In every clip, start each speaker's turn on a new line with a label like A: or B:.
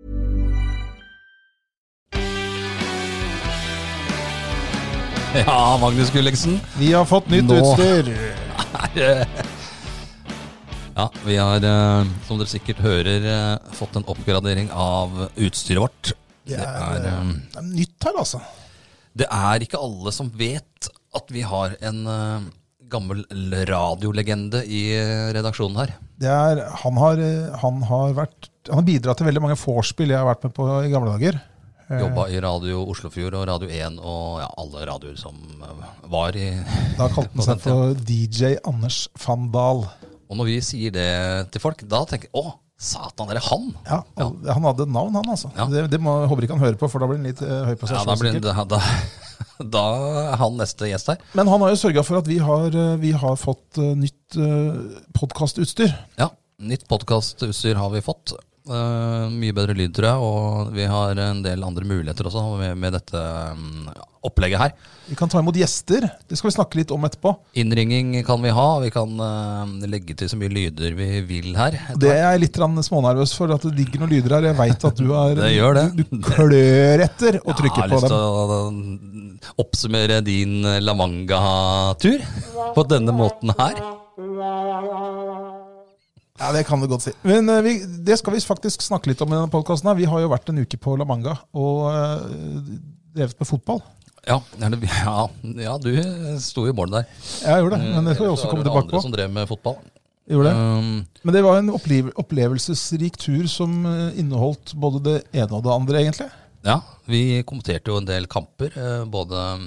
A: Ja, Magnus Gulliksen.
B: Vi har fått nytt
A: Nå.
B: utstyr.
A: Ja, vi har, eh, som dere sikkert hører, eh, fått en oppgradering av utstyret vårt.
B: Det
A: Det
B: er,
A: er, eh,
B: det er nytt her, altså.
A: det er ikke alle som vet at vi har en eh, gammel radiolegende i eh, redaksjonen her.
B: Det er, han, har, eh, han, har vært, han har bidratt til veldig mange vorspiel jeg har vært med på i gamle dager. Eh,
A: Jobba i Radio Oslofjord og Radio 1 og ja, alle radioer som eh, var i
B: Da kalte han seg for DJ Anders van Dahl.
A: Og når vi sier det til folk, da tenker jeg å, satan, er det han?
B: Ja, al- Han hadde et navn, han altså.
A: Ja.
B: Det, det må, håper ikke han hører på, for da blir han litt eh, høy på seg
A: Ja, da,
B: selv,
A: blir,
B: sikkert.
A: da, da, da er han neste gjest her.
B: Men han har jo sørga for at vi har, eh, vi har fått eh, nytt uh, podkastutstyr.
A: Ja, nytt podkastutstyr har vi fått. Eh, mye bedre lyd, tror jeg. Og vi har en del andre muligheter også med, med dette mm, opplegget her.
B: Vi kan ta imot gjester. Det skal vi snakke litt om etterpå.
A: Innringing kan vi ha. Vi kan eh, legge til så mye lyder vi vil her.
B: Det er jeg litt grann smånervøs for, at det ligger noen lyder her. Jeg veit at du er
A: Det gjør det.
B: Du, du klør etter og
A: jeg
B: trykker
A: har
B: på
A: lyst
B: dem.
A: til å oppsummere din La Manga-tur på denne måten her.
B: Ja, Det kan du godt si. Men eh, vi, det skal vi faktisk snakke litt om i denne podkasten. Vi har jo vært en uke på La Manga og eh, drevet med fotball.
A: Ja, er det, ja, ja du sto i mål der.
B: Jeg gjorde det, men det skal vi
A: Mm. Så
B: også
A: har
B: komme
A: du
B: tilbake
A: Andre
B: på.
A: som drev med fotball.
B: Jeg Gjorde det.
A: Um,
B: Men det var en opplev opplevelsesrik tur som eh, inneholdt både det ene og det andre, egentlig.
A: Ja, vi kommenterte jo en del kamper, eh, både mm,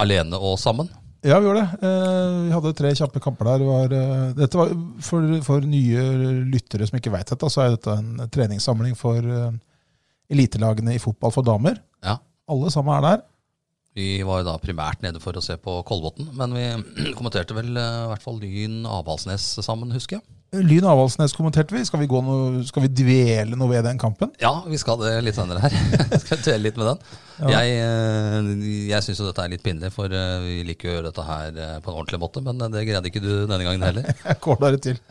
A: alene og sammen.
B: Ja, vi gjorde det. Eh, vi hadde tre kjappe kamper der. Det Var, eh, dette var for, for nye lyttere som ikke veit dette, så er dette en treningssamling for eh, elitelagene i fotball for damer.
A: Ja,
B: Alle sammen er der.
A: Vi var jo da primært nede for å se på Kolbotn, men vi kommenterte vel eh, i hvert fall Lyn Avaldsnes sammen, husker jeg.
B: Lyn Avaldsnes kommenterte vi. Skal vi, gå noe, skal vi dvele noe ved den kampen?
A: Ja, vi skal det litt senere her. skal dvele litt med den. Jeg, eh, jeg syns jo dette er litt pinlig, for eh, vi liker jo å gjøre dette her eh, på en ordentlig måte, men det greide ikke du denne gangen heller.
B: Jeg går der til.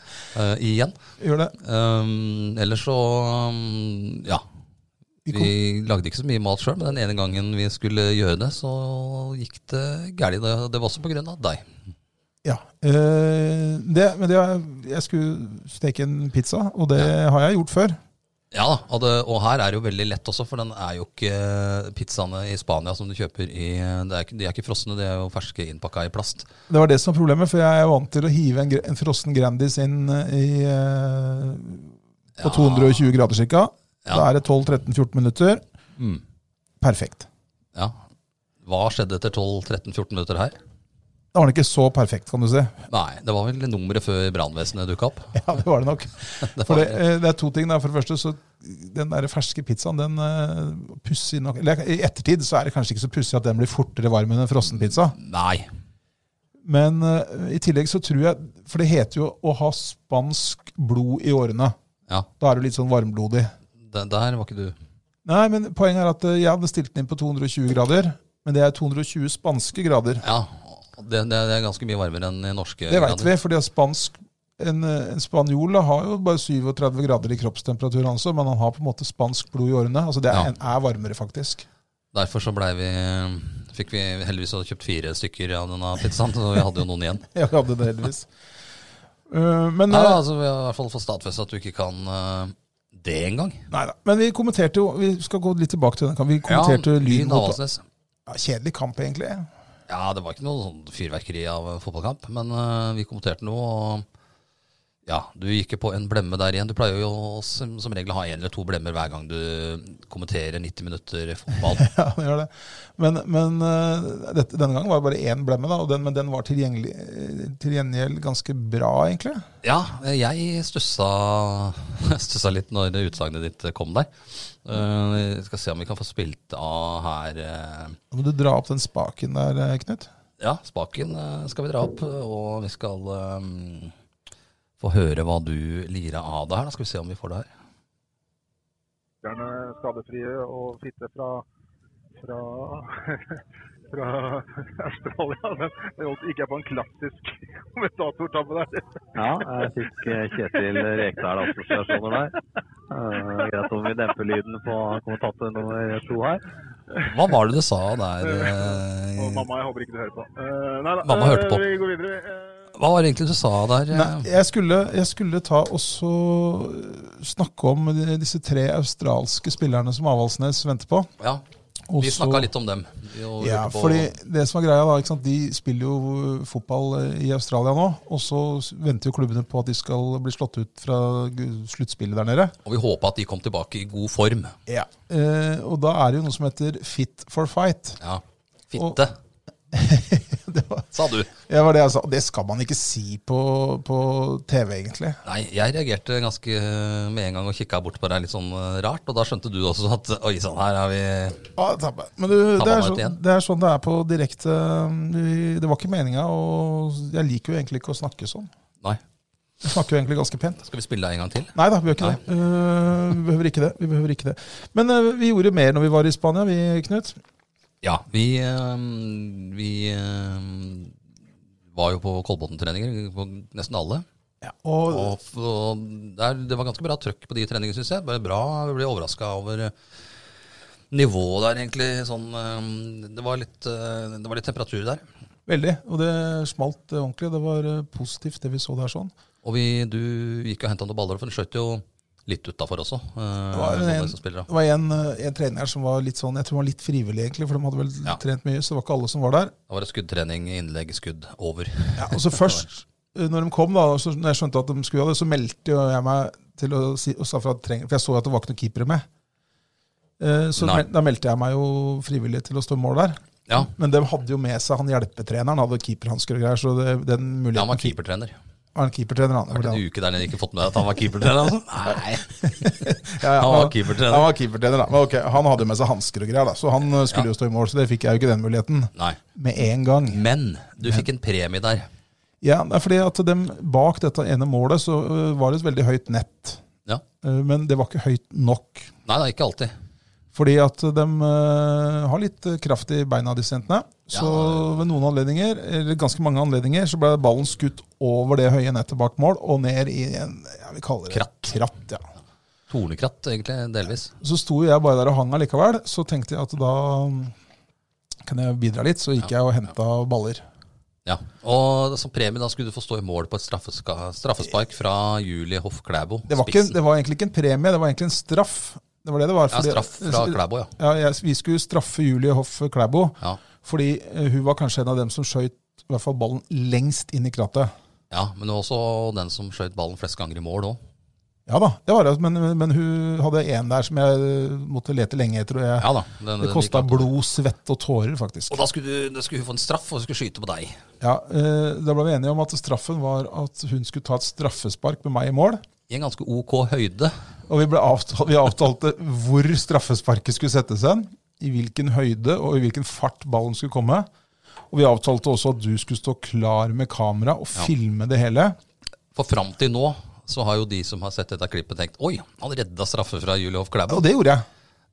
A: eh, igjen.
B: Gjør det.
A: Um, ellers så um, Ja.
B: Vi kom,
A: Vi lagde ikke så mye mat sjøl, men den ene gangen vi skulle gjøre det, så gikk det galt. Det, det var også på grunn av deg.
B: ja. Eh, det, men det, jeg skulle steke en pizza, og det har jeg gjort før.
A: Ja da, og, det, og her er det jo veldig lett også, for den er jo ikke pizzaene i Spania som du kjøper i det er, ikke- De er ikke frosne, de er jo ferske innpakka i plast.
B: Det var det som var problemet, for jeg er vant til å hive en, gre- en frossen Grandis inn eh, i, eh, på 220 grader cirka.
A: Ja.
B: Da er det 12-13-14 minutter. Mm. Perfekt.
A: Ja. Hva skjedde etter 12-13-14 minutter her?
B: Da var den ikke så perfekt, kan du si.
A: Nei, det var vel nummeret før brannvesenet dukka opp.
B: Ja, det var det nok.
A: Det
B: For
A: var,
B: det, eh, det er to ting. Da. For det første, så den der ferske pizzaen, den eh, pussig nok Eller i ettertid så er det kanskje ikke så pussig at den blir fortere varm enn en frossen pizza.
A: nei.
B: Men eh, i tillegg så tror jeg For det heter jo å ha spansk blod i årene.
A: Ja,
B: Da er du litt sånn varmblodig.
A: det, der var ikke du.
B: Nei, men poenget er at eh, jeg hadde stilt den inn på 220 grader, men det er 220 spanske grader.
A: Ja, det, det, det er ganske mye varmere enn i norske
B: Det veit
A: grader.
B: vi, fordi at spansk en, eh, en spanjol da har jo bare 37 grader i kroppstemperatur, han også, men han har på en måte spansk blod i årene. Altså det er,
A: Ja.
B: en, er varmere, faktisk.
A: Derfor så blei vi Fikk vi heldigvis hadde kjøpt fire stykker av denne pizzaen, så vi hadde jo noen igjen.
B: Jeg hadde det heldigvis. Eh, men,
A: Nei,
B: eh,
A: altså Vi har i hvert fall fått stadfestet at du ikke kan eh, det engang.
B: neida. men vi kommenterte jo Vi skal gå litt tilbake til den kampen. Vi kommenterte Lyn mot
A: Avaldsnes.
B: ja, Kjedelig kamp, egentlig.
A: Ja, det var ikke noe sånn fyrverkeri av en fotballkamp, men eh, vi kommenterte noe. og Ja, du gikk jo på en blemme der igjen. Du pleier jo å- som, som regel å ha én eller to blemmer hver gang du kommenterer 90 minutter fotball.
B: Ja, det gjør det. Men, men eh, dette, denne gangen var det bare én blemme, da, og den, men den var tilgjengelig, eh, til gjengjeld ganske bra, egentlig.
A: Ja, jeg stussa, stussa litt når utsagnet ditt kom der. Eh, Jeg skal se om vi kan få spilt av her eh,
B: Da må du dra opp den spaken der, eh, Knut.
A: Ja, spaken eh, skal vi dra opp, og vi skal eh, få høre hva du lira av deg her. Da skal vi se om vi får det her.
C: spillerne skadefrie og fitte fra fra, fra Australia. Men det holdt ikke jeg på en klassisk kommentatortabbe der.
D: Ja, jeg fikk eh, Kjetil Rekdal-assosiasjoner der. Eh, greit om vi demper lyden på kommentator nummer to her.
A: Hva var det du sa der? eh,
C: Og mamma, jeg håper ikke du hører på. Eh, nei da,
A: Mamma hørte på.
C: eh, vi går videre. vi. Eh,
A: Hva var det egentlig du sa der? eh?
B: Nei, jeg skulle, jeg skulle ta også snakke om de- disse tre australske spillerne som Avaldsnes venter på.
A: Ja,
B: Og
A: vi
B: så-
A: snakka litt om dem. Vi jo
B: Ja,
A: lurte på-
B: fordi det som er greia da, ikke sant? De spiller jo fotball eh, i Australia nå, og så s- venter jo klubbene på at de skal bli slått ut fra gu- sluttspillet der nede.
A: Og vi håpa at de kom tilbake i god form.
B: Eh, og da er det jo noe som heter fit for fight.
A: Ja, Fitte,
B: Det var,
A: sa du.
B: det var det jeg sa. Det skal man ikke si på, på TV, egentlig.
A: Nei, jeg reagerte ganske eh, med en gang og kikka bort på deg litt sånn eh, rart. Og da skjønte du også at oi sann, her er vi
B: Ja, tabbe. Men du, det, er
A: meg ut
B: sånn,
A: igjen.
B: det er sånn det er på direkte. um, Vi- Det var ikke meninga, og jeg liker jo egentlig ikke å snakke sånn.
A: Nei,
B: Jeg snakker jo egentlig ganske pent.
A: skal vi spille deg en gang til?
B: Nei da, vi gjør ikke det. Eh, vi behøver ikke det. Vi behøver ikke det. Men eh, vi gjorde mer når vi var i Spania, vi, Knut.
A: Ja, vi, eh, vi eh, var jo på Kolbotn-treninger, på nesten alle.
B: Og,
A: Og, og der, det var ganske bra trøkk på de treningene, syns jeg. Bare bra, jeg ble overraska over eh, nivået der, egentlig. Sånn, eh, det, var litt, eh, det var litt temperatur der.
B: veldig. Og det smalt eh, ordentlig. Det var eh, positivt, det vi så der sånn.
A: Og vi, du gikk og henta noen baller, for du skjøt jo litt utafor også. eh,
B: var
A: noen av
B: en-
A: de som spiller, da.
B: Det var en, eh, en trener her som var litt sånn, jeg tror han var litt frivillig egentlig, for de hadde vel
A: Ja.
B: trent mye, så det var ikke alle som var der.
A: Da var det skuddtrening, innlegg, skudd, over.
B: Ja, og så først, eh, når de kom da, så, når jeg skjønte at de skulle gjøre det, så meldte jo jeg meg til å si, og sa fra at trenger, for jeg så jo at det var ikke noen keepere med. Eh, Så
A: Nei.
B: mel- da meldte jeg meg jo frivillig til å stå i mål der.
A: Ja,
B: Men de hadde jo med seg han hjelpetreneren, hadde keeperhansker og greier, så det, den
A: ja,
B: muligheten
A: han var keepertrener.
B: Er han keepertrener, han?
A: Det har
B: Ble
A: vært
B: han.
A: en uke der nede jeg ikke fått med deg at han var keepertrener. Altså. Nei,
B: Ja, ja,
A: han var keepertrener.
B: Han var keepertrener, da. Men ok, han hadde jo med seg hansker og greier, da, så han eh, skulle jo stå i mål, så det fikk jeg jo ikke den muligheten
A: Nei.
B: med en gang.
A: Men du fikk en premie der.
B: Ja, det er fordi at dem bak dette ene målet så øh, var det et veldig høyt nett.
A: Ja.
B: Øh, Men det var ikke høyt nok.
A: Nei da, ikke alltid.
B: Fordi at de har litt øh, kraft i beina, disse jentene. Så
A: Ja.
B: ved noen anledninger, eller ganske mange anledninger, så ble ballen skutt over det høye nettet bak mål og ned i en ja, vi kaller det
A: Kratt.
B: kratt ja.
A: Tornekratt, egentlig, delvis.
B: Så sto jeg bare der og hang allikevel. Så tenkte jeg at da mm, kan jeg bidra litt. Så gikk jeg og henta baller.
A: Ja, og Som premie da skulle du få stå i mål på et straffeska, straffespark fra Julie Hoff Klæbo.
B: Det var, ikke, det var egentlig ikke en premie, det var egentlig en straff. Det var det det var.
A: ja,
B: fordi-
A: straff fra Klæbo, ja.
B: Ja, jeg, vi skulle straffe Julie Hoff Klæbo,
A: ja.
B: fordi eh, hun var kanskje en av dem som skjøt i hvert fall ballen lengst inn i krattet.
A: Ja, Men også den som skjøt ballen flest ganger i mål òg.
B: Ja da, det var det, men, men hun hadde en der som jeg eh, måtte lete lenge etter. Og jeg,
A: Ja, da, den- den
B: det kosta
A: gikk av.
B: blod, svette og tårer, faktisk.
A: Og da skulle, du, da skulle hun få en straff, og hun skulle skyte på deg.
B: Ja, eh, Da ble vi enige om at straffen var at hun skulle ta et straffespark med meg i mål.
A: I en ganske ok høyde.
B: Og vi, ble avtalt, vi avtalte hvor straffesparket skulle settes hen, i hvilken høyde og i hvilken fart ballen skulle komme. Og vi avtalte også at du skulle stå klar med kamera og filme det hele.
A: For fram til nå så har jo de som har sett dette klippet, tenkt Oi, han redda straffe fra Julie Hoff Klæbo.
B: Og det gjorde jeg.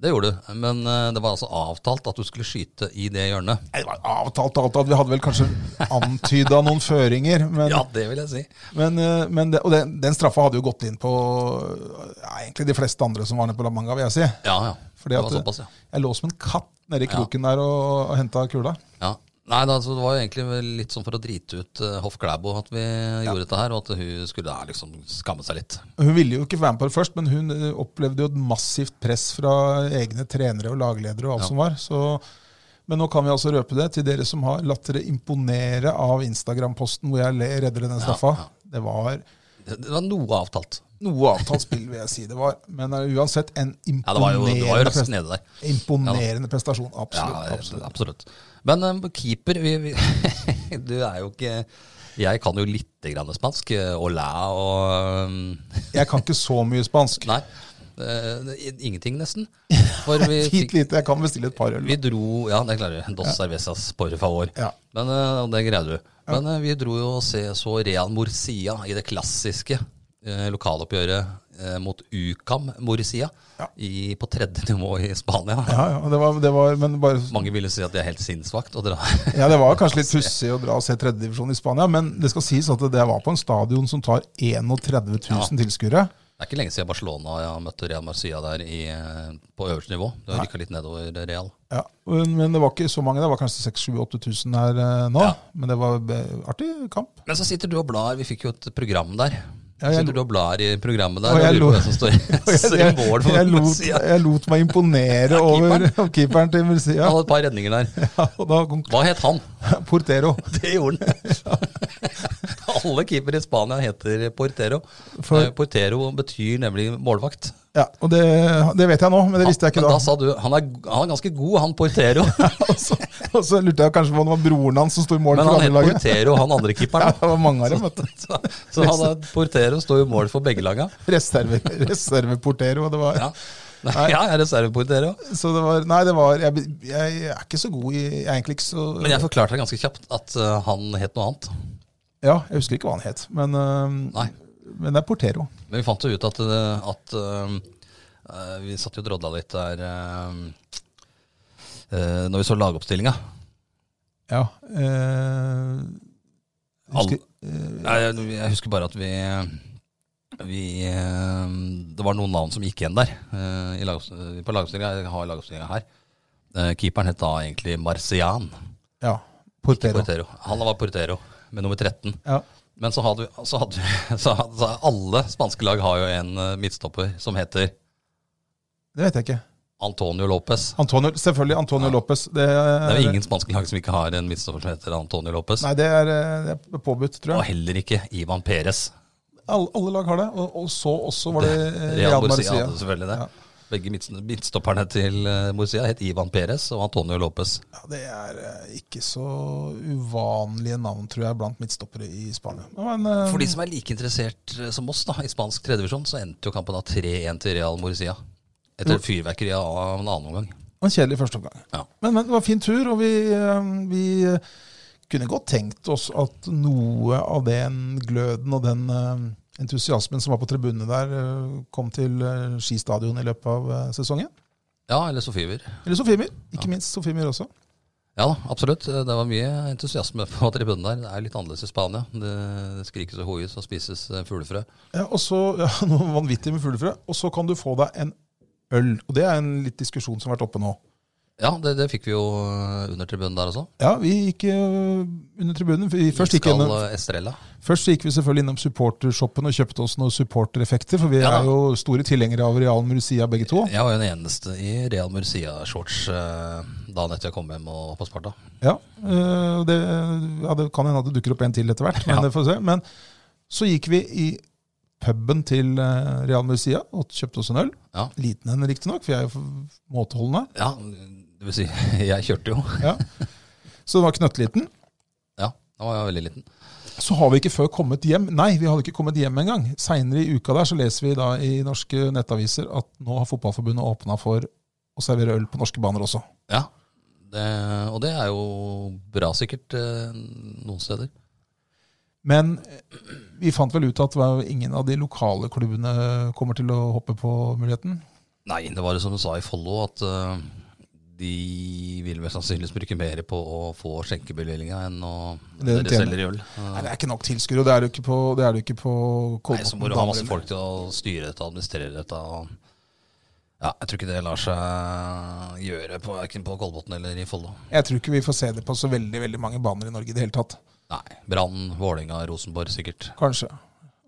A: Det gjorde du. Men eh, det var altså avtalt at du skulle skyte i det hjørnet.
B: Nei, Det var avtalt, avtalt. Vi hadde vel kanskje antyda noen føringer. Men,
A: Ja, det vil jeg si.
B: men, eh, men det, og den, den straffa hadde jo gått inn på ja, egentlig de fleste andre som var nede på La Manga, vil jeg si.
A: Ja, ja.
B: Fordi
A: det
B: at eh,
A: var såpass, ja.
B: Jeg lå som en katt nede i kroken der og, og henta kula.
A: Ja. Nei, da, altså, Det var jo egentlig vel litt sånn for å drite ut eh, Hoff Klæbo at vi gjorde dette her, og at hun skulle da liksom skamme seg litt.
B: Hun ville jo ikke være med på det først, men hun eh, opplevde jo et massivt press fra egne trenere og lagledere og alt som var. Så, men nå kan vi altså røpe det til dere som har latt dere imponere av Instagram-posten hvor jeg le- redder denne straffa. Det var
A: Det var noe avtalt.
B: Noe avtalt spill, vil jeg si det var. Men eh, uansett en
A: Ja, det var jo, det var jo
B: imponerende,
A: raskt nede der.
B: pres- imponerende prestasjon. Absolutt.
A: ja,
B: absolutt.
A: absolutt. Men eh, keeper vi, vi, Du er jo ikke Jeg kan jo litt grann spansk. eh, Hola og eh,
B: Jeg kan ikke så mye spansk.
A: Nei. eh, ingenting, nesten. For vi
B: Fint
A: fikk
B: lite. Jeg kan bestille et par øl.
A: Vi dro Ja, det klarer du. Dos cervezas por favor.
B: Ja.
A: Men eh, og det greide du. Men eh, vi dro jo og se, så Real Murcia i det klassiske eh, lokaloppgjøret eh, mot Ucam Murcia i, på tredje nivå i Spania.
B: Ja, ja, det var, det var, men bare,
A: Mange ville si at det er helt sinnssvakt å dra.
B: ja, det var kanskje litt pussig å dra og se tredjedivisjon i Spania, men det skal sies at det var på en stadion som tar 31 000 tilskuere.
A: Det er ikke lenge siden Barcelona ja, møtte Real Murcia der i, eh, på øverste nivå. Det har rykka litt nedover Real.
B: Ja, men men det var ikke så mange. Det var kanskje 6 000 8000 her eh, nå.
A: Ja.
B: Men det var eh, artig kamp.
A: Men så sitter du og blar. Vi fikk jo et program der.
B: Ja, jeg
A: sitter du og blar i programmet der
B: Og
A: og,
B: jeg
A: lurer på
B: lo-
A: hvem som står, står i
B: jeg,
A: mål for
B: jeg, lot,
A: Murcia?
B: jeg lot meg imponere
A: Ja,
B: over
A: keeperen.
B: over keeperen til Murcia.
A: Han hadde et par redninger der.
B: Ja, og da kom
A: Hva het han?
B: Portero.
A: Det gjorde han. Alle keepere i Spania heter Portero.
B: For-
A: Eh, Portero betyr nemlig målvakt.
B: Ja, og det, det vet jeg nå, men det visste jeg ikke
A: Men
B: da.
A: da sa du han er, han er ganske god, han Portero.
B: Og så, og så lurte jeg kanskje på om det var broren hans som sto i mål
A: Men
B: for
A: han het
B: andre laget.
A: Portero, han andre
B: Ja,
A: keeperen.
B: det var mange av dem, vet du.
A: Så, så han er, Portero står jo mål for begge laga.
B: Reserve, reserveportero. og Det var,
A: Ja. Nei, ja, jeg er reserveportero.
B: Så det var Nei, det var Jeg, jeg er ikke så god i Jeg er egentlig ikke så
A: Men jeg forklarte det ganske kjapt at eh, han het noe annet.
B: Ja, jeg husker ikke hva han het, men, øhm,
A: Nei.
B: men det er Portero.
A: Men vi fant jo ut at, eh, at eh, eh, Vi satt jo og drodla litt der eh, eh, når vi så lagoppstillinga.
B: Ja. øh, husker,
A: Nei, jeg, jeg husker bare at vi, vi eh, Det var noen navn som gikk igjen der. eh, i lagopps- eh, på lagoppstillinga. Jeg har lagoppstillinga her. Eh, keeperen het da egentlig Marcian.
B: ja. Portero.
A: Portero. Han var Portero med nummer 13.
B: Ja.
A: Men så hadde vi, så hadde vi så, hadde- så Alle spanske lag har jo en eh, midtstopper som heter
B: Det vet jeg ikke.
A: Antonio Lopez.
B: Antonio, selvfølgelig Antonio Lopez. Det,
A: Det er jo ingen spanske lag som ikke har en midtstopper som heter Antonio Lopez.
B: Nei, det er, øh, det er påbudt, tror
A: Og
B: jeg.
A: heller ikke Ivan Perez.
B: Alle, alle lag har det. Og, og så også var det øh,
A: Real Murcia
B: Murcia.
A: hadde selvfølgelig det.
B: Ja.
A: Begge midts- midtstopperne til eh, Murcia het Ivan Perez og Antonio Lopez.
B: Ja, det er eh, ikke så uvanlige navn, tror jeg, blant midtstoppere i Spania. Men, eh,
A: For de som er like interessert eh, som oss da, i spansk tredjevisjon, så endte jo kampen da 3-1 til Real Murcia. Etter fyrverkeri av en annen omgang.
B: En kjedelig første omgang.
A: Ja.
B: Men, men det var en fin tur, og vi, eh, vi eh, kunne godt tenkt oss at noe av den gløden og den eh, entusiasmen som var på tribunene der, eh, kom til eh, Ski stadion i løpet av eh, sesongen.
A: Ja, eller Sofiver.
B: Eller Sofiemyr. Ikke minst Sofiemyr også.
A: Ja da, absolutt. Eh, Det var mye entusiasme på tribunen der. Det er litt annerledes i Spania. Det skrikes og hoies og spises eh, fuglefrø.
B: Ja, og så, ja, Noe vanvittig med fuglefrø. Og så kan du få deg en øl. Og det er en litt diskusjon som har vært oppe nå.
A: Ja, det, det fikk vi jo eh, under tribunen der også.
B: Ja, vi gikk eh, under tribunen. Vi først gikk,
A: Skal eh,
B: gjennom,
A: Estrella.
B: først gikk vi selvfølgelig innom supportershoppen og kjøpte oss noen supportereffekter, for vi
A: Ja da.
B: er jo store tilhengere av Real Murcia begge to.
A: Jeg var jo den eneste i Real Murcia-shorts eh, dagen etter jeg kom hjem og på Sparta.
B: Ja, eh, det, ja, det kan hende at det dukker opp en til etter hvert, men
A: Ja.
B: det får vi se. Men så gikk vi i puben til eh, Real Murcia og kjøpte oss en øl.
A: Ja.
B: Liten en riktignok, for jeg er jo f- måteholdende.
A: Ja, det vil si, jeg kjørte jo.
B: Ja. Så den var knøttliten.
A: Ja, da var jeg veldig liten.
B: Så har vi ikke før kommet hjem. Nei, vi hadde ikke kommet hjem engang. Seinere i uka der så leser vi da i norske nettaviser at nå har Fotballforbundet åpna for å servere øl på norske baner også.
A: Ja, det, og det er jo bra sikkert eh, noen steder.
B: Men eh, vi fant vel ut at det var ingen av de lokale klubbene kommer til å hoppe på muligheten.
A: Nei, det var det som du sa i Follo, at eh, de vil mest sannsynligvis bruke mer på å få skjenkebevillinga enn å
B: Det
A: dere
B: de tjener.
A: selger i øl.
B: Nei, det er ikke nok tilskuere, og det er det jo ikke på, det er det jo ikke på
A: Nei, så må
B: Kolbotn
A: du ha masse
B: damer.
A: folk til å styre dette, administrere dette. og- Ja, jeg tror ikke det lar seg gjøre, på- verken på Kolbotn eller i Follo.
B: Jeg tror ikke vi får se det på så veldig veldig mange baner i Norge i det hele tatt.
A: Nei. Brann, Vålerenga, Rosenborg sikkert.
B: Kanskje.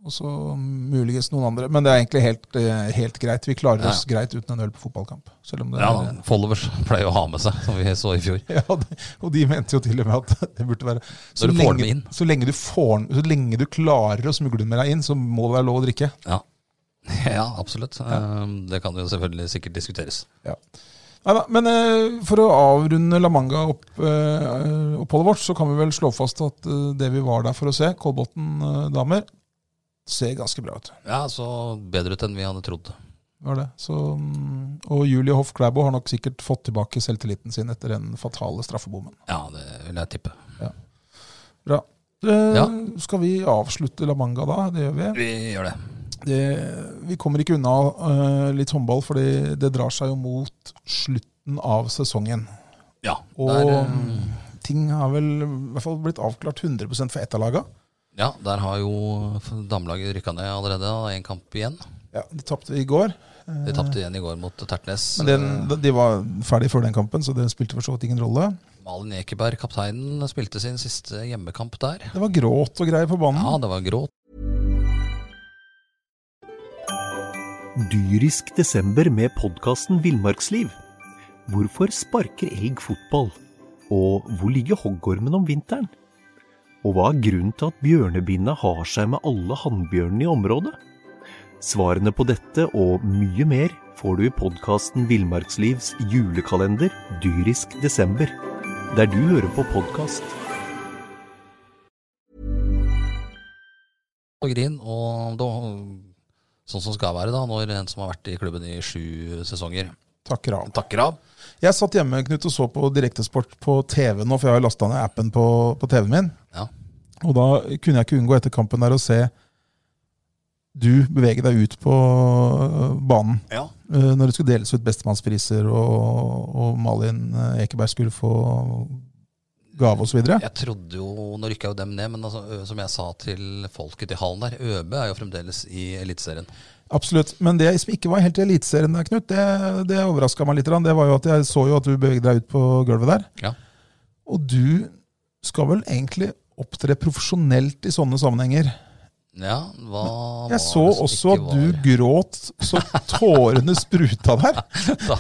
B: Og så muligens noen andre. Men det er egentlig helt, eh, helt greit. Vi klarer oss greit uten en øl på fotballkamp. Selv om det
A: Ja
B: er,
A: da, Followers pleier å ha med seg, som vi så i fjor.
B: ja, de- og de mente jo til og med at det burde være Så,
A: Når du får
B: lenge,
A: den inn.
B: så, lenge, du får, den- så lenge du klarer å smugle den med deg inn, så må det være lov å drikke.
A: Ja, ja absolutt. Eh, Det kan jo selvfølgelig sikkert diskuteres.
B: Neida, men eh, for å avrunde La Manga opp, eh, oppholdet vårt, så kan vi vel slå fast at eh, det vi var der for å se, Kolbotn eh, damer, ser ganske bra ut.
A: Ja, så bedre ut enn vi hadde trodd.
B: Var det. Så, mm, og Julie Hoff Klæbo har nok sikkert fått tilbake selvtilliten sin etter den fatale straffebommen.
A: Ja, det vil jeg tippe.
B: Bra. Eh,
A: Ja.
B: Skal vi avslutte La Manga da? Det gjør vi.
A: Vi gjør det.
B: Det, vi kommer ikke unna eh, litt håndball, fordi det drar seg jo mot slutten av sesongen.
A: Ja.
B: Og
A: Der, eh,
B: ting har vel i hvert fall blitt avklart 100 for ett av laga.
A: ja, der har jo damelaget rykka ned allerede. og Én kamp igjen.
B: Ja, de tapte i går.
A: De tapte igjen i går mot Tertnes.
B: Men den, de var ferdig før den kampen, så det spilte for så vidt ingen rolle.
A: Malin Ekeberg, kapteinen, spilte sin siste hjemmekamp der.
B: Det var gråt og greier på banen.
A: Ja, det var gråt.
E: Dyrisk desember med podkasten Villmarksliv. Hvorfor sparker elg fotball? Og hvor ligger hoggormen om vinteren? Og hva er grunnen til at bjørnebinna har seg med alle hannbjørnene i området? Svarene på dette og mye mer får du i podkasten Villmarkslivs julekalender Dyrisk desember, der du hører på podkast.
A: og grin. Og da, sånn som skal være da, når en som har vært i klubben i sju sesonger,
B: Takker av.
A: takker av.
B: Jeg satt hjemme Knut, og så på Direktesport på TV nå, for jeg har lasta ned appen på, på TV-en min.
A: Ja.
B: Og da kunne jeg ikke unngå etter kampen der å se du bevege deg ut på øh, banen.
A: Ja.
B: øh, Når det skulle deles ut bestemannspriser, og, og Malin øh, Ekeberg skulle få gave osv.
A: Jeg trodde jo, Nå rykka jo dem ned, men altså, ø, som jeg sa til folket i hallen der, Øbe er jo fremdeles i Eliteserien.
B: Absolutt. Men det som ikke var helt i Eliteserien, der, Knut, det, det overraska meg litt. grann. Det var jo at jeg så jo at du beveget deg ut på gulvet der.
A: Ja.
B: Og du skal vel egentlig opptre profesjonelt i sånne sammenhenger.
A: Ja, hva var
B: Jeg så
A: det som
B: også at
A: ikke
B: du
A: var?
B: gråt så tårene spruta der.
A: da,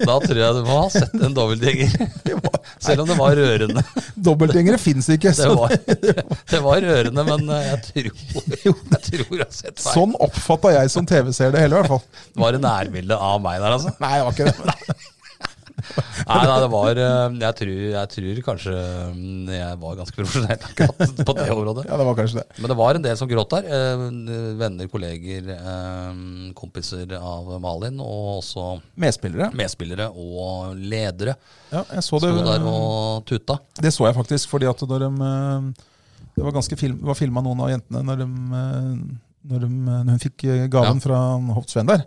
A: da tror jeg du må ha sett en dobbeltgjenger. Selv om det var rørende.
B: Dobbeltgjengere fins ikke.
A: Det
B: Så,
A: var, det var rørende, men ø, jeg tror jeg, tror jeg har sett feil.
B: sånn oppfatta jeg som TV-seer det hele, i hvert fall.
A: Det var et nærbilde av meg der, altså.
B: Nei, det var ikke det.
A: Nei, nei, det var eh, Jeg tror, jeg tror kanskje mm, jeg var ganske profesjonell akkurat på det området.
B: Ja, det var kanskje det.
A: Men det var en del som gråt der. eh, Venner, kolleger, eh, kompiser av Malin, og også
B: Medspillere.
A: medspillere og ledere
B: Ja, jeg så det.
A: sto der og tuta.
B: Det så jeg faktisk, fordi at når de eh, Det var ganske film, var filma noen av jentene når, de, eh, når, de, når hun fikk eh, gaven
A: Ja.
B: fra Hoft Sven der.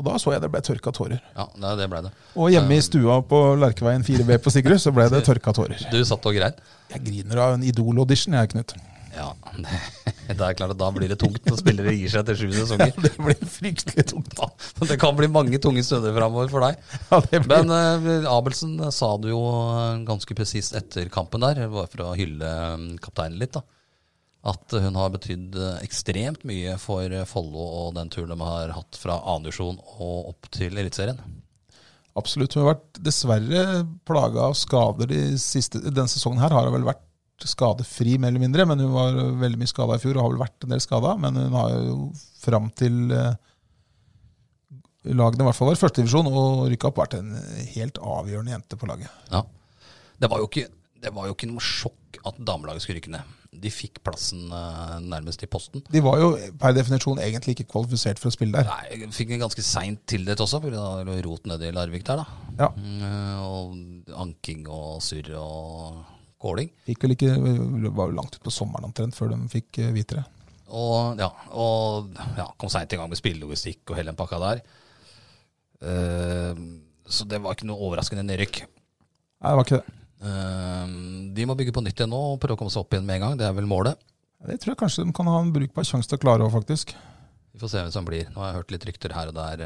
B: Og da så jeg det ble tørka tårer.
A: Ja, det, det blei det.
B: Og hjemme i stua på Lerkeveien 4B på Sigrud så ble det tørka tårer.
A: Du satt og grein.
B: Jeg griner av en Idol-audition, jeg, Knut.
A: Ja, det er klart at da blir det tungt når spillere gir seg etter sju sesonger.
B: Det blir fryktelig tungt.
A: Ja, Det kan bli mange tunge stunder framover for deg.
B: Ja, det blir,
A: Men eh, Abelsen eh, sa det jo eh, ganske presist etter kampen der, bare for å hylle eh, kapteinen litt, da. At eh, hun har betydd eh, ekstremt mye for eh, Follo og den turen de har hatt fra andredivisjon og opp til Eliteserien.
B: absolutt. Hun har vært dessverre plaga av skader de siste, denne sesongen. her har hun vel vært skadefri, mer eller mindre. Men hun var veldig mye skada i fjor og har vel vært en del skada. Men hun har jo fram til eh, lagene i hvert fall var i førstedivisjon og rykka opp, vært en helt avgjørende jente på laget.
A: Ja. Det var jo ikke, det var jo ikke noe sjokk at damelaget skulle rykke ned. De fikk plassen eh, nærmest i posten.
B: De var jo per definisjon egentlig ikke kvalifisert for å spille der.
A: Nei, jeg fikk den ganske seint tildelt også, pga. rot nede i Larvik der, da.
B: Ja,
A: Eh, Og anking og surr og kåling.
B: fikk vel ikke, Var jo langt ut på sommeren omtrent før de fikk eh, vite det.
A: Og, ja, og ja, kom seint i gang med spillelogistikk og hele den pakka der. Eh, så det var ikke noe overraskende nedrykk.
B: Nei, det var ikke det.
A: Eh, de må bygge på nytt igjen nå og prøve å komme seg opp igjen med en gang. Det er vel målet.
B: Det tror jeg kanskje de kan ha en brukbar sjanse til å klare òg, faktisk.
A: Vi får se hvem som blir. Nå har jeg hørt litt rykter her og der.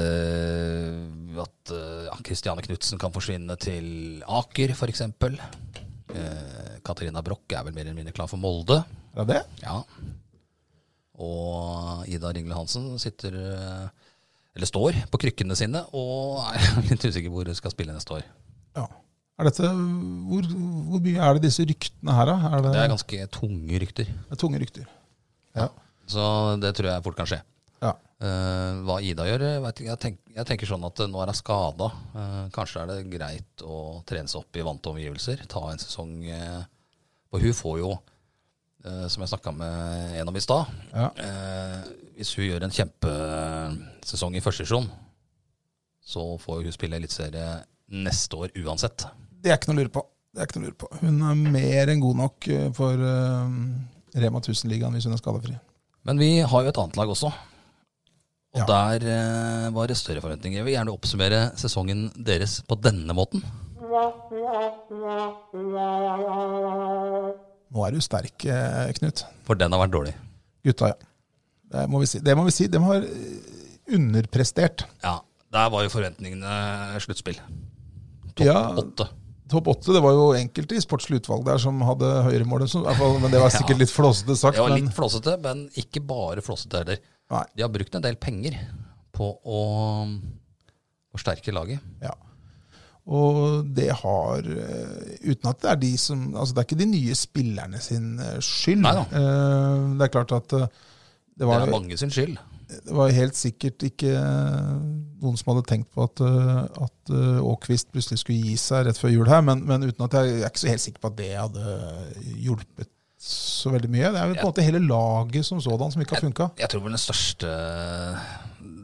A: eh, at eh, ja, Christiane Knutsen kan forsvinne til Aker, Eh, f.eks. Uh, Katarina Broch er vel mer eller mindre klar for Molde.
B: Er det det?
A: Ja. Og Ida Ringle Hansen sitter eh, eller står på krykkene sine og er litt usikker hvor hun skal spille neste år.
B: Ja. Er dette, hvor, hvor mye er det disse ryktene her, da? Er det,
A: Det er ganske tunge rykter,
B: det er tunge rykter. Ja.
A: så det tror jeg fort kan skje.
B: Ja.
A: Eh, hva Ida gjør, eh, vet ikke. jeg, tenk, jeg tenker sånn at eh, nå er hun skada. Eh, kanskje er det greit å trene seg opp i vante omgivelser. Ta en sesong eh, Og hun får jo, eh, som jeg snakka med en om i stad
B: Ja.
A: eh, Hvis hun gjør en kjempesesong i første divisjon, så får hun spille eliteserie neste år uansett.
B: Det er ikke noe å lure på. Det er ikke noe å lure på. Hun er mer enn god nok eh, for eh, Rema 1000-ligaen hvis hun er skadefri.
A: Men vi har jo et annet lag også. Og
B: Ja.
A: der eh, var det større forventninger. Jeg vil gjerne oppsummere sesongen deres på denne måten.
B: Nå er du sterk, eh, Knut.
A: For den har vært dårlig.
B: Gutta, ja. Det må vi si. Det må vi si. De har eh, underprestert.
A: Ja, Der var jo forventningene sluttspill. Topp
B: Ja.
A: åtte.
B: Topp åtte, det var jo enkelte i sportslig utvalg der som hadde høyere mål. enn så- i hvert fall- Men det var sikkert
A: Ja.
B: litt flåsete sagt.
A: Det var
B: men-
A: litt flåsete, men ikke bare flåsete heller.
B: Nei.
A: De har brukt en del penger på å forsterke laget.
B: Ja. Og det har eh, Uten at det er de som Altså, det er ikke de nye spillerne sin eh, skyld.
A: Neida.
B: Eh, Det er klart at eh, det
A: Det
B: var,
A: er mange sin skyld.
B: det var helt sikkert ikke eh, noen som hadde tenkt på at, eh, at eh, Åkvist plutselig skulle gi seg rett før jul her, men, men uten at jeg, jeg er ikke så helt sikker på at det hadde hjulpet så veldig mye. Det er jo på en måte hele laget som sådan som ikke har funka.
A: Jeg tror vel den største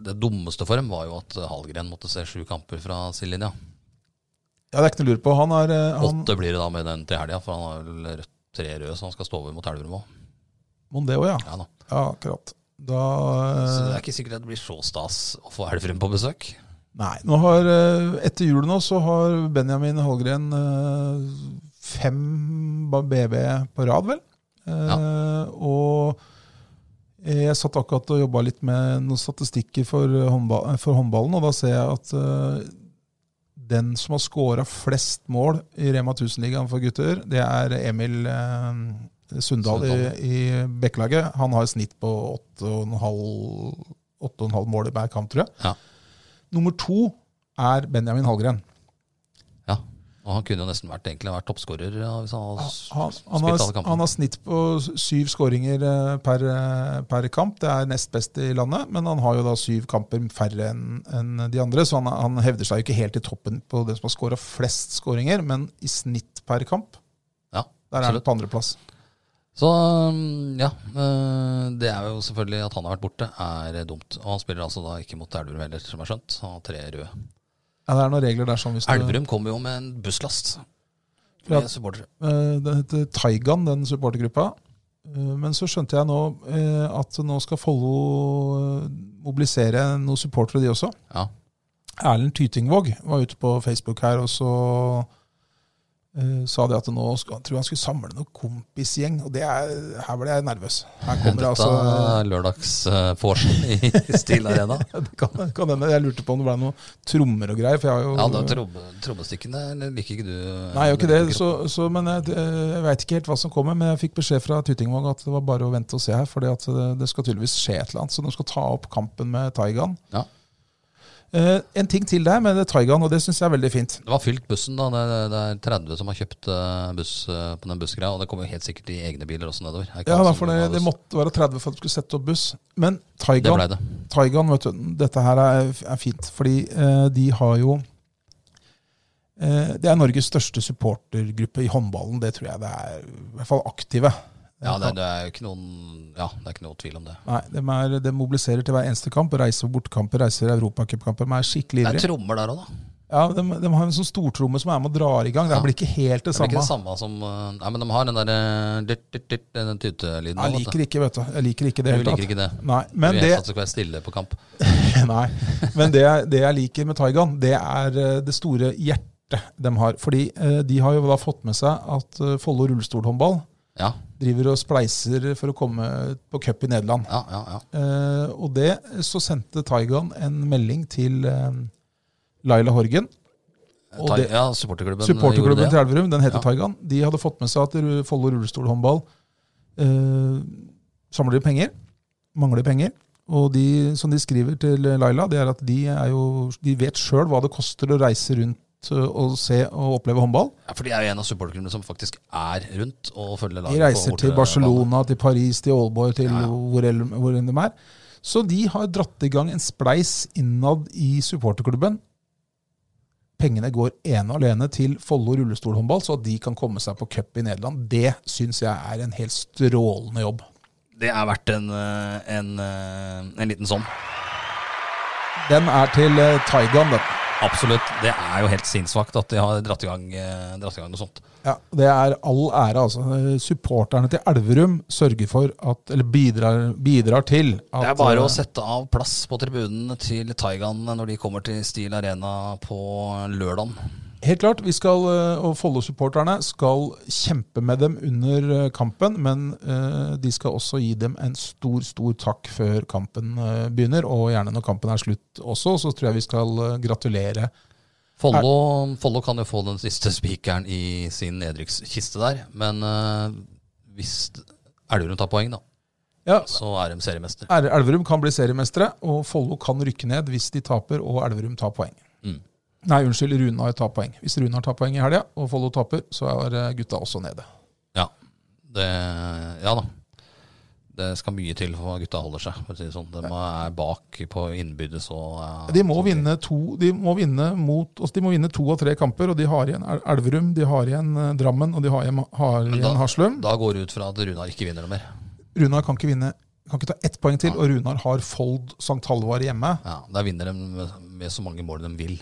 A: Det dummeste for dem var jo at Hallgren måtte se sju kamper fra sidelinja.
B: Ja, det er ikke noe å lure på. Han er, eh, han,
A: Åtte blir det da med den til helga, for han har vel rødt, tre røde, så han skal stå over mot Elverum òg.
B: Mon det òg, ja.
A: Ja, da.
B: ja. Akkurat. Da
A: så
B: eh,
A: det er ikke sikkert at det blir så stas å få Elverum på besøk.
B: Nei. nå har, eh, Etter jul nå så har Benjamin Hallgren eh, fem ba- BB på rad, vel. Eh, Og jeg satt akkurat og jobba litt med noen statistikker for, håndba for håndballen, og da ser jeg at eh, den som har scora flest mål i Rema 1000-ligaen for gutter, det er Emil eh, Sundal i,
A: Sundal.
B: i Bekkelaget. Han har et snitt på 8,5 8,5 mål i hver kamp, tror jeg.
A: Ja.
B: Nummer to er Benjamin Hallgren.
A: Ja. Og han kunne jo nesten vært, egentlig vært toppskårer ja, hvis han hadde s-
B: Han, han,
A: spilt
B: har,
A: alle
B: han
A: kampene.
B: har snitt på syv skåringer eh, per, eh, per kamp. Det er nest best i landet, men han har jo da syv kamper færre enn enn de andre, så han, han hevder seg jo ikke helt i toppen på den som har skåra flest skåringer, men i snitt per kamp.
A: Ja,
B: Der er han
A: absolutt.
B: på andreplass.
A: Så mm, ja, eh, det er jo selvfølgelig at han har vært borte, er dumt. Og han spiller altså da ikke mot Elverum heller, som er skjønt. Han har tre røde.
B: Ja, det er noen regler der som hvis du-
A: Elverum kommer jo med en busslast
B: Ja.
A: med supportere.
B: Eh, Den heter Taigan, den supportergruppa. Eh, Men så skjønte jeg nå eh, at nå skal Follo eh, mobilisere noen supportere, de også.
A: Ja.
B: Erlend Tytingvåg var ute på Facebook her, og så eh, sa de at nå skal, tror jeg han skulle samle noen kompisgjeng. Og det er, her ble jeg nervøs. Her kommer det
A: Dette
B: altså
A: er lørdagsforsen i Steel Arena.
B: det kan, kan hende. Jeg lurte på om det ble noen trommer og greier. For jeg har jo
A: Ja, da, tromme, trommestikkene liker ikke du. eh,
B: Nei, jeg gjør ikke det.
A: liker
B: Så, så, men jeg, eh, jeg veit ikke helt hva som kommer. Men jeg fikk beskjed fra Tytingvåg at det var bare å vente og se her. For det, det skal tydeligvis skje et eller annet. Så de skal ta opp kampen med Taigan.
A: Ja.
B: Eh, en ting til der med det Taigan, og det syns jeg er veldig fint.
A: Det var fylt bussen, da. Det, det er 30 som har kjøpt eh, buss eh, på den bussgreia. Og det kommer jo helt sikkert i egne biler også nedover. Er ikke
B: Ja,
A: alle
B: da,
A: som
B: for det,
A: har
B: det
A: buss?
B: måtte være 30 for at de skulle sette opp buss. Men
A: det
B: Taigan
A: blei det.
B: Taigan, vet du, dette her er, er fint, fordi eh, de har jo eh, Det er Norges største supportergruppe i håndballen, det tror jeg det er. I hvert fall aktive.
A: Ja, det, det er jo ikke noen Ja, det er ikke noe tvil om det.
B: Nei, de, er, de mobiliserer til hver eneste kamp. Reiser på bortekamper, reiser europacupkamper. De er skikkelig
A: Det er
B: ivrige.
A: trommer der òg, da.
B: Ja, de, de har en sånn stortromme som er med og drar i gang. Det
A: Ja.
B: blir ikke helt det
A: Det er ikke
B: samme.
A: det samme som eh, Nei, men de har den eh, derre Den tutelyden.
B: Jeg liker ikke vet du. Jeg liker ikke det
A: det.
B: hele
A: Vi liker
B: tatt.
A: ikke det.
B: Nei, men
A: vi
B: det,
A: er satt til å være stille på kamp.
B: nei, men det, det jeg liker med Taigan, det er eh, det store hjertet de har. Fordi eh, de har jo da fått med seg at eh, Follo rullestolhåndball
A: Ja,
B: driver og spleiser for å komme på cup i Nederland.
A: ja, ja. ja.
B: Eh, og det så sendte Taigan en melding til eh, Laila Horgen. Og
A: Ta,
B: det-
A: ja supporterklubben, eh,
B: Supporterklubben
A: gjorde
B: til
A: det.
B: Elverum, den heter
A: Ja.
B: Taigan. De hadde fått med seg at Ru- Follo rullestolhåndball eh, samler penger. mangler penger. Og de som de skriver til Laila, det er at de, er jo, de vet sjøl hva det koster å reise rundt øh, og se og oppleve håndball.
A: Ja, for de er jo en av supporterklubbene som faktisk er rundt og følger laget.
B: De reiser
A: på
B: til Barcelona, til Paris, til Aalborg, til
A: Ja, ja.
B: hvor el- hvor enn de er. Så de har dratt i gang en spleis innad i supporterklubben. Pengene går ene og alene til Follo rullestolhåndball, så at de kan komme seg på cup i Nederland. Det syns jeg er en helt strålende jobb.
A: Det er verdt en, eh, en, eh, en liten sånn.
B: Den er til eh, Taigan, den.
A: Absolutt. Det er jo helt sinnssvakt at de har dratt i gang, eh, dratt i gang noe sånt.
B: Ja, det er all ære, altså. Supporterne til Elverum sørger for at, eller bidrar, bidrar til at
A: det er bare å
B: eh,
A: sette av plass på tribunen til Taigan når de kommer til Steel Arena på lørdag.
B: Helt klart. Vi skal, eh, og Follo-supporterne skal kjempe med dem under eh, kampen, men eh, de skal også gi dem en stor, stor takk før kampen eh, begynner. Og gjerne når kampen er slutt også, så tror jeg vi skal eh, gratulere.
A: Follo Follo kan jo få den siste spikeren i sin nedrykkskiste der, men eh, hvis Elverum tar poeng, da,
B: Ja,
A: så er de seriemester.
B: El- Elverum kan bli seriemestere, og Follo kan rykke ned hvis de taper og Elverum tar poeng.
A: Mm.
B: Nei, unnskyld, Runar tar poeng. Hvis Runar tar poeng i helga og Follo taper, så er eh, gutta også nede.
A: Ja, det, ja da. Det skal mye til for at gutta holder seg. For å si det sånn. De er bak på innbyrdes og eh,
B: De må
A: sånne ting.
B: vinne to De må vinne mot oss. De må vinne to av tre kamper, og de har igjen El- Elverum, de har igjen eh, Drammen og de har igjen, har
A: Men da-
B: igjen Haslum.
A: Da går det ut fra at Runar ikke vinner noe mer.
B: Runar kan ikke vinne kan ikke ta ett poeng til, og Runar har Fold St. Halvard hjemme.
A: Ja, Der vinner de med, med så mange mål de vil.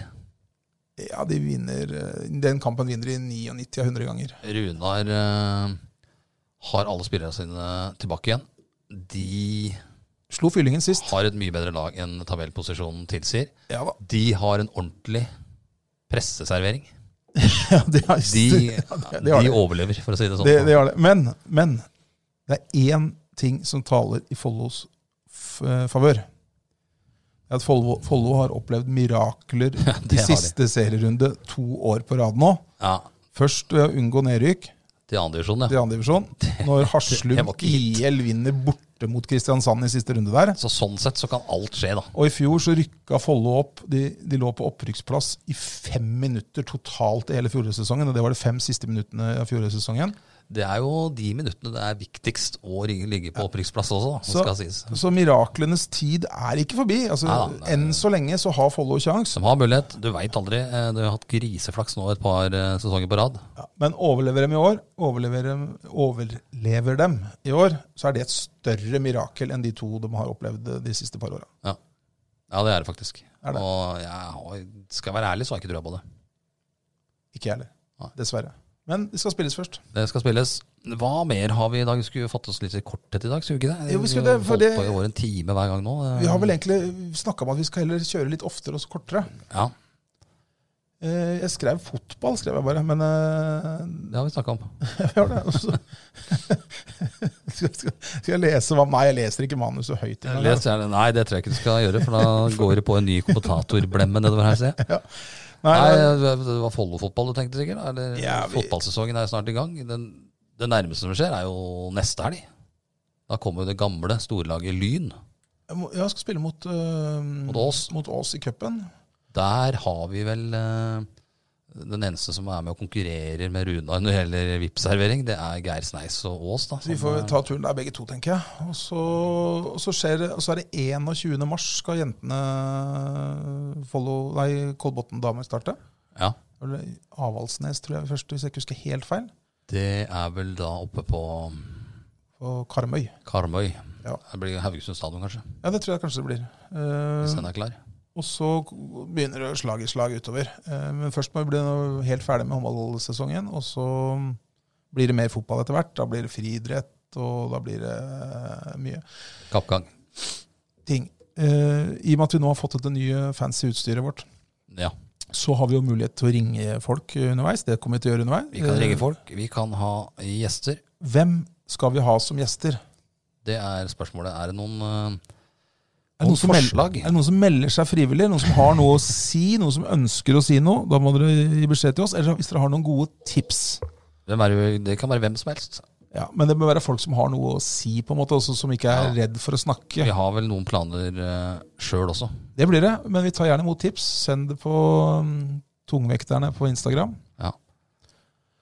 B: Ja, de vinner eh, Den kampen vinner de 99 av 100 ganger.
A: Runar eh, har alle spillerne sine tilbake igjen. De
B: Slo Fyllingen sist.
A: har et mye bedre lag enn tabellposisjonen tilsier.
B: Ja da.
A: De har en ordentlig presseservering.
B: Ja, de, har,
A: De,
B: det- det har
A: de
B: de.
A: overlever, for å si det sånn.
B: det, det gjør det. Men, men det er én ting som taler i Follos f- eh, favør. Det er At Follo, Follo har opplevd mirakler de
A: har de.
B: siste serierunde to år på rad nå.
A: Ja,
B: Først ved å unngå nedrykk
A: Til andre divisjon,
B: til
A: ja.
B: andre divisjon. Når
A: det
B: Haslum
A: var ikke hit.
B: IL vinner borte mot Kristiansand i siste runde der.
A: Så sånn sett så kan alt skje, da.
B: Og i fjor så rykka Follo opp. De, de lå på opprykksplass i fem minutter totalt i hele fjorårssesongen. Og det var de fem siste minuttene av fjorårssesongen.
A: Det er jo de minuttene det er viktigst å ri- ligge på opprykksplass også, da,
B: Så-
A: skal sies.
B: Så miraklenes tid er ikke forbi. Altså,
A: Nei da, det-
B: enn så lenge så har Follo kjangs.
A: De har mulighet. Du veit aldri. Eh, Du har hatt griseflaks nå et par eh, sesonger på rad.
B: Men overlever dem i år, overlever dem, overlever dem i år, så er det et større mirakel enn de to de har opplevd de siste par åra.
A: Ja, ja det er det faktisk.
B: Er det?
A: Og jeg har, skal jeg være ærlig, så har jeg ikke trua på det.
B: Ikke jeg heller.
A: Nei.
B: Dessverre. Men de skal spilles først.
A: Det skal spilles. Hva mer har vi i dag? Vi skulle jo fatte oss litt i korthet i dag, skulle vi ikke det?
B: Jo, vi skulle det,
A: har
B: for
A: holdt
B: det-
A: på i over en time hver gang nå.
B: Vi har vel egentlig snakka om at vi skal heller kjøre litt oftere og så kortere.
A: Ja,
B: Eh, Jeg skrev fotball, skrev jeg bare, men eh,
A: det har vi snakka om.
B: jeg gjør det. og så- skal, skal, skal jeg lese hva Nei, jeg leser ikke manuset høyt. engang.
A: Les gjerne. Nei, det tror jeg ikke du skal gjøre, for da går det på en ny kommentatorblemme nedover her, ser jeg.
B: Nei,
A: Nei,
B: nei,
A: det var Follo-fotball du tenkte sikkert? Eller
B: Ja, vi-
A: fotballsesongen er snart i gang. Den, det nærmeste som skjer, er jo neste helg. Da kommer jo det gamle storlaget Lyn.
B: jeg må- jeg skal spille mot, eh,
A: Mot Ås.
B: mot Ås i cupen.
A: Der har vi vel eh, den eneste som er med og konkurrerer med Runar når det gjelder VIP-servering, det er Geir Sneis og Aas. Da,
B: Så vi
A: som eh,
B: får
A: er-
B: ta turen der begge to, tenker jeg. Og så, og så, skjer, det- og så er det 21. mars skal jentene Follo- Nei, Kolbotn damer starte.
A: ja,
B: Eller Avaldsnes, tror jeg først, hvis jeg ikke husker helt feil.
A: det er vel da oppe på mm,
B: Og Karmøy.
A: Karmøy.
B: Ja.
A: Det blir Haugesund stadion, kanskje,
B: Ja, det tror jeg kanskje det blir.
A: hvis
B: Eh,
A: den er klar.
B: og så begynner det slag i slag utover. Eh, men først må vi bli nå helt ferdig med håndballsesongen, og så blir det mer fotball etter hvert. Da blir det friidrett, og da blir det eh, mye.
A: Kappgang.
B: ting. Eh, I og med at vi nå har fått dette nye fancy utstyret vårt,
A: Ja.
B: så har vi jo mulighet til å ringe folk underveis. Det kommer vi til å gjøre underveis.
A: Vi kan
B: Eh,
A: ringe folk, vi kan ha gjester.
B: Hvem skal vi ha som gjester?
A: Det er spørsmålet. Er det noen eh,
B: Er det, noen som melder,
A: forslag?
B: er det noen som melder seg frivillig? Noen som har noe å si? Noen som ønsker å si noe? Da må dere gi beskjed til oss. Eller hvis dere har noen gode tips.
A: hvem er det, det kan være hvem som helst.
B: Ja, Men det bør være folk som har noe å si, på en måte, også, som ikke er redd for å snakke.
A: Vi har vel noen planer uh, sjøl også.
B: Det blir det, men vi tar gjerne imot tips. Send det på mm, Tungvekterne på Instagram.
A: Ja.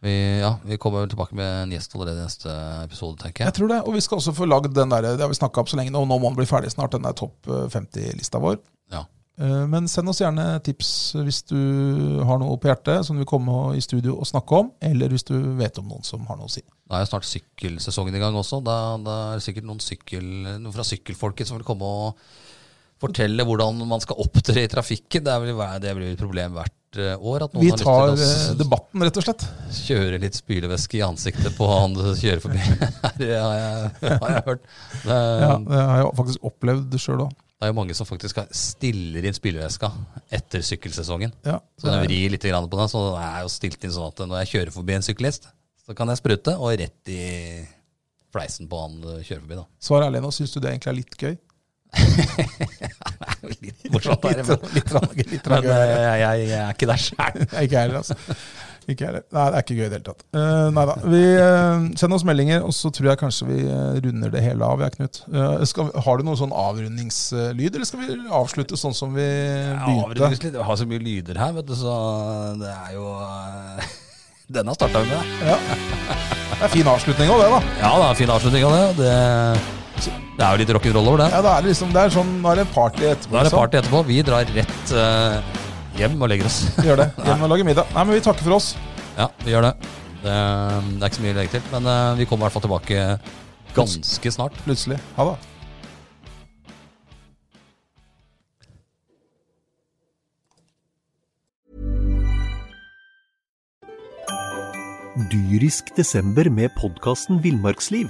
A: Vi, ja, vi kommer vel tilbake med en gjest allerede i neste episode, tenker
B: Jeg
A: jeg.
B: tror det, Og vi skal også få lagd den der, det har vi snakket om så lenge nå, nå må den bli ferdig snart, den der topp eh, 50-lista vår.
A: Ja.
B: Eh, Men send oss gjerne tips hvis du har noe på hjertet som du vil komme i studio og snakke om, eller hvis du vet om noen som har noe å si.
A: Da er jo snart sykkelsesongen i gang også. Da, da er det sikkert noen, sykkel, noen fra sykkelfolket som vil komme og fortelle hvordan man skal opptre i trafikken. Det, er vel, det blir et problem hvert eh, år at noen
B: Vi
A: har
B: tar
A: lyst
B: eh,
A: til å s-
B: debatten, rett og slett.
A: kjøre litt spylevæske i ansiktet på han du kjører forbi. det har jeg, har jeg hørt. Det,
B: Ja, det har jeg faktisk opplevd sjøl òg.
A: det er jo mange som faktisk har- stiller inn spylevæska etter sykkelsesongen.
B: Ja,
A: Så den vrir litt grann på den, så den er jo stilt inn sånn at når jeg kjører forbi en syklist, så kan jeg sprute, og rett i fleisen på han du kjører forbi, da.
B: Svar ærlig nå, syns du det egentlig er litt gøy?
A: litt morsomt der, men,
B: Litt sånn trang- litt trang-
A: men eh, jeg, jeg er ikke der sjæl.
B: Nei, ikke jeg heller, altså. Ikke jeg heller. Nei, det er ikke gøy i det hele tatt. Uh, nei da. Vi eh, Send oss meldinger, og så tror jeg kanskje vi eh, runder det hele av, jeg, Knut. Eh, skal, vi- har du noen sånn avrundingslyd, eller skal vi avslutte sånn som vi begynte?
A: Jeg har så mye lyder her, vet du, så det er jo eh, Denne starta vi med.
B: Ja. Det er fin avslutning òg, det, da.
A: Ja, det er en fin avslutning av det. Det, det er jo litt rock'n'roll over det.
B: Ja, det er liksom, det er sånn, Nå er det party etterpå.
A: Da er det
B: liksom.
A: party etterpå. Vi drar rett eh, hjem og legger oss.
B: Gjør det. Hjem og lage middag. Nei, men vi takker for oss.
A: Ja, vi gjør det. Det, det er ikke så mye å legge til, men eh, vi kommer i hvert fall tilbake ganske snart.
B: Plutselig. Ha det.
E: Dyrisk desember med podkasten Villmarksliv.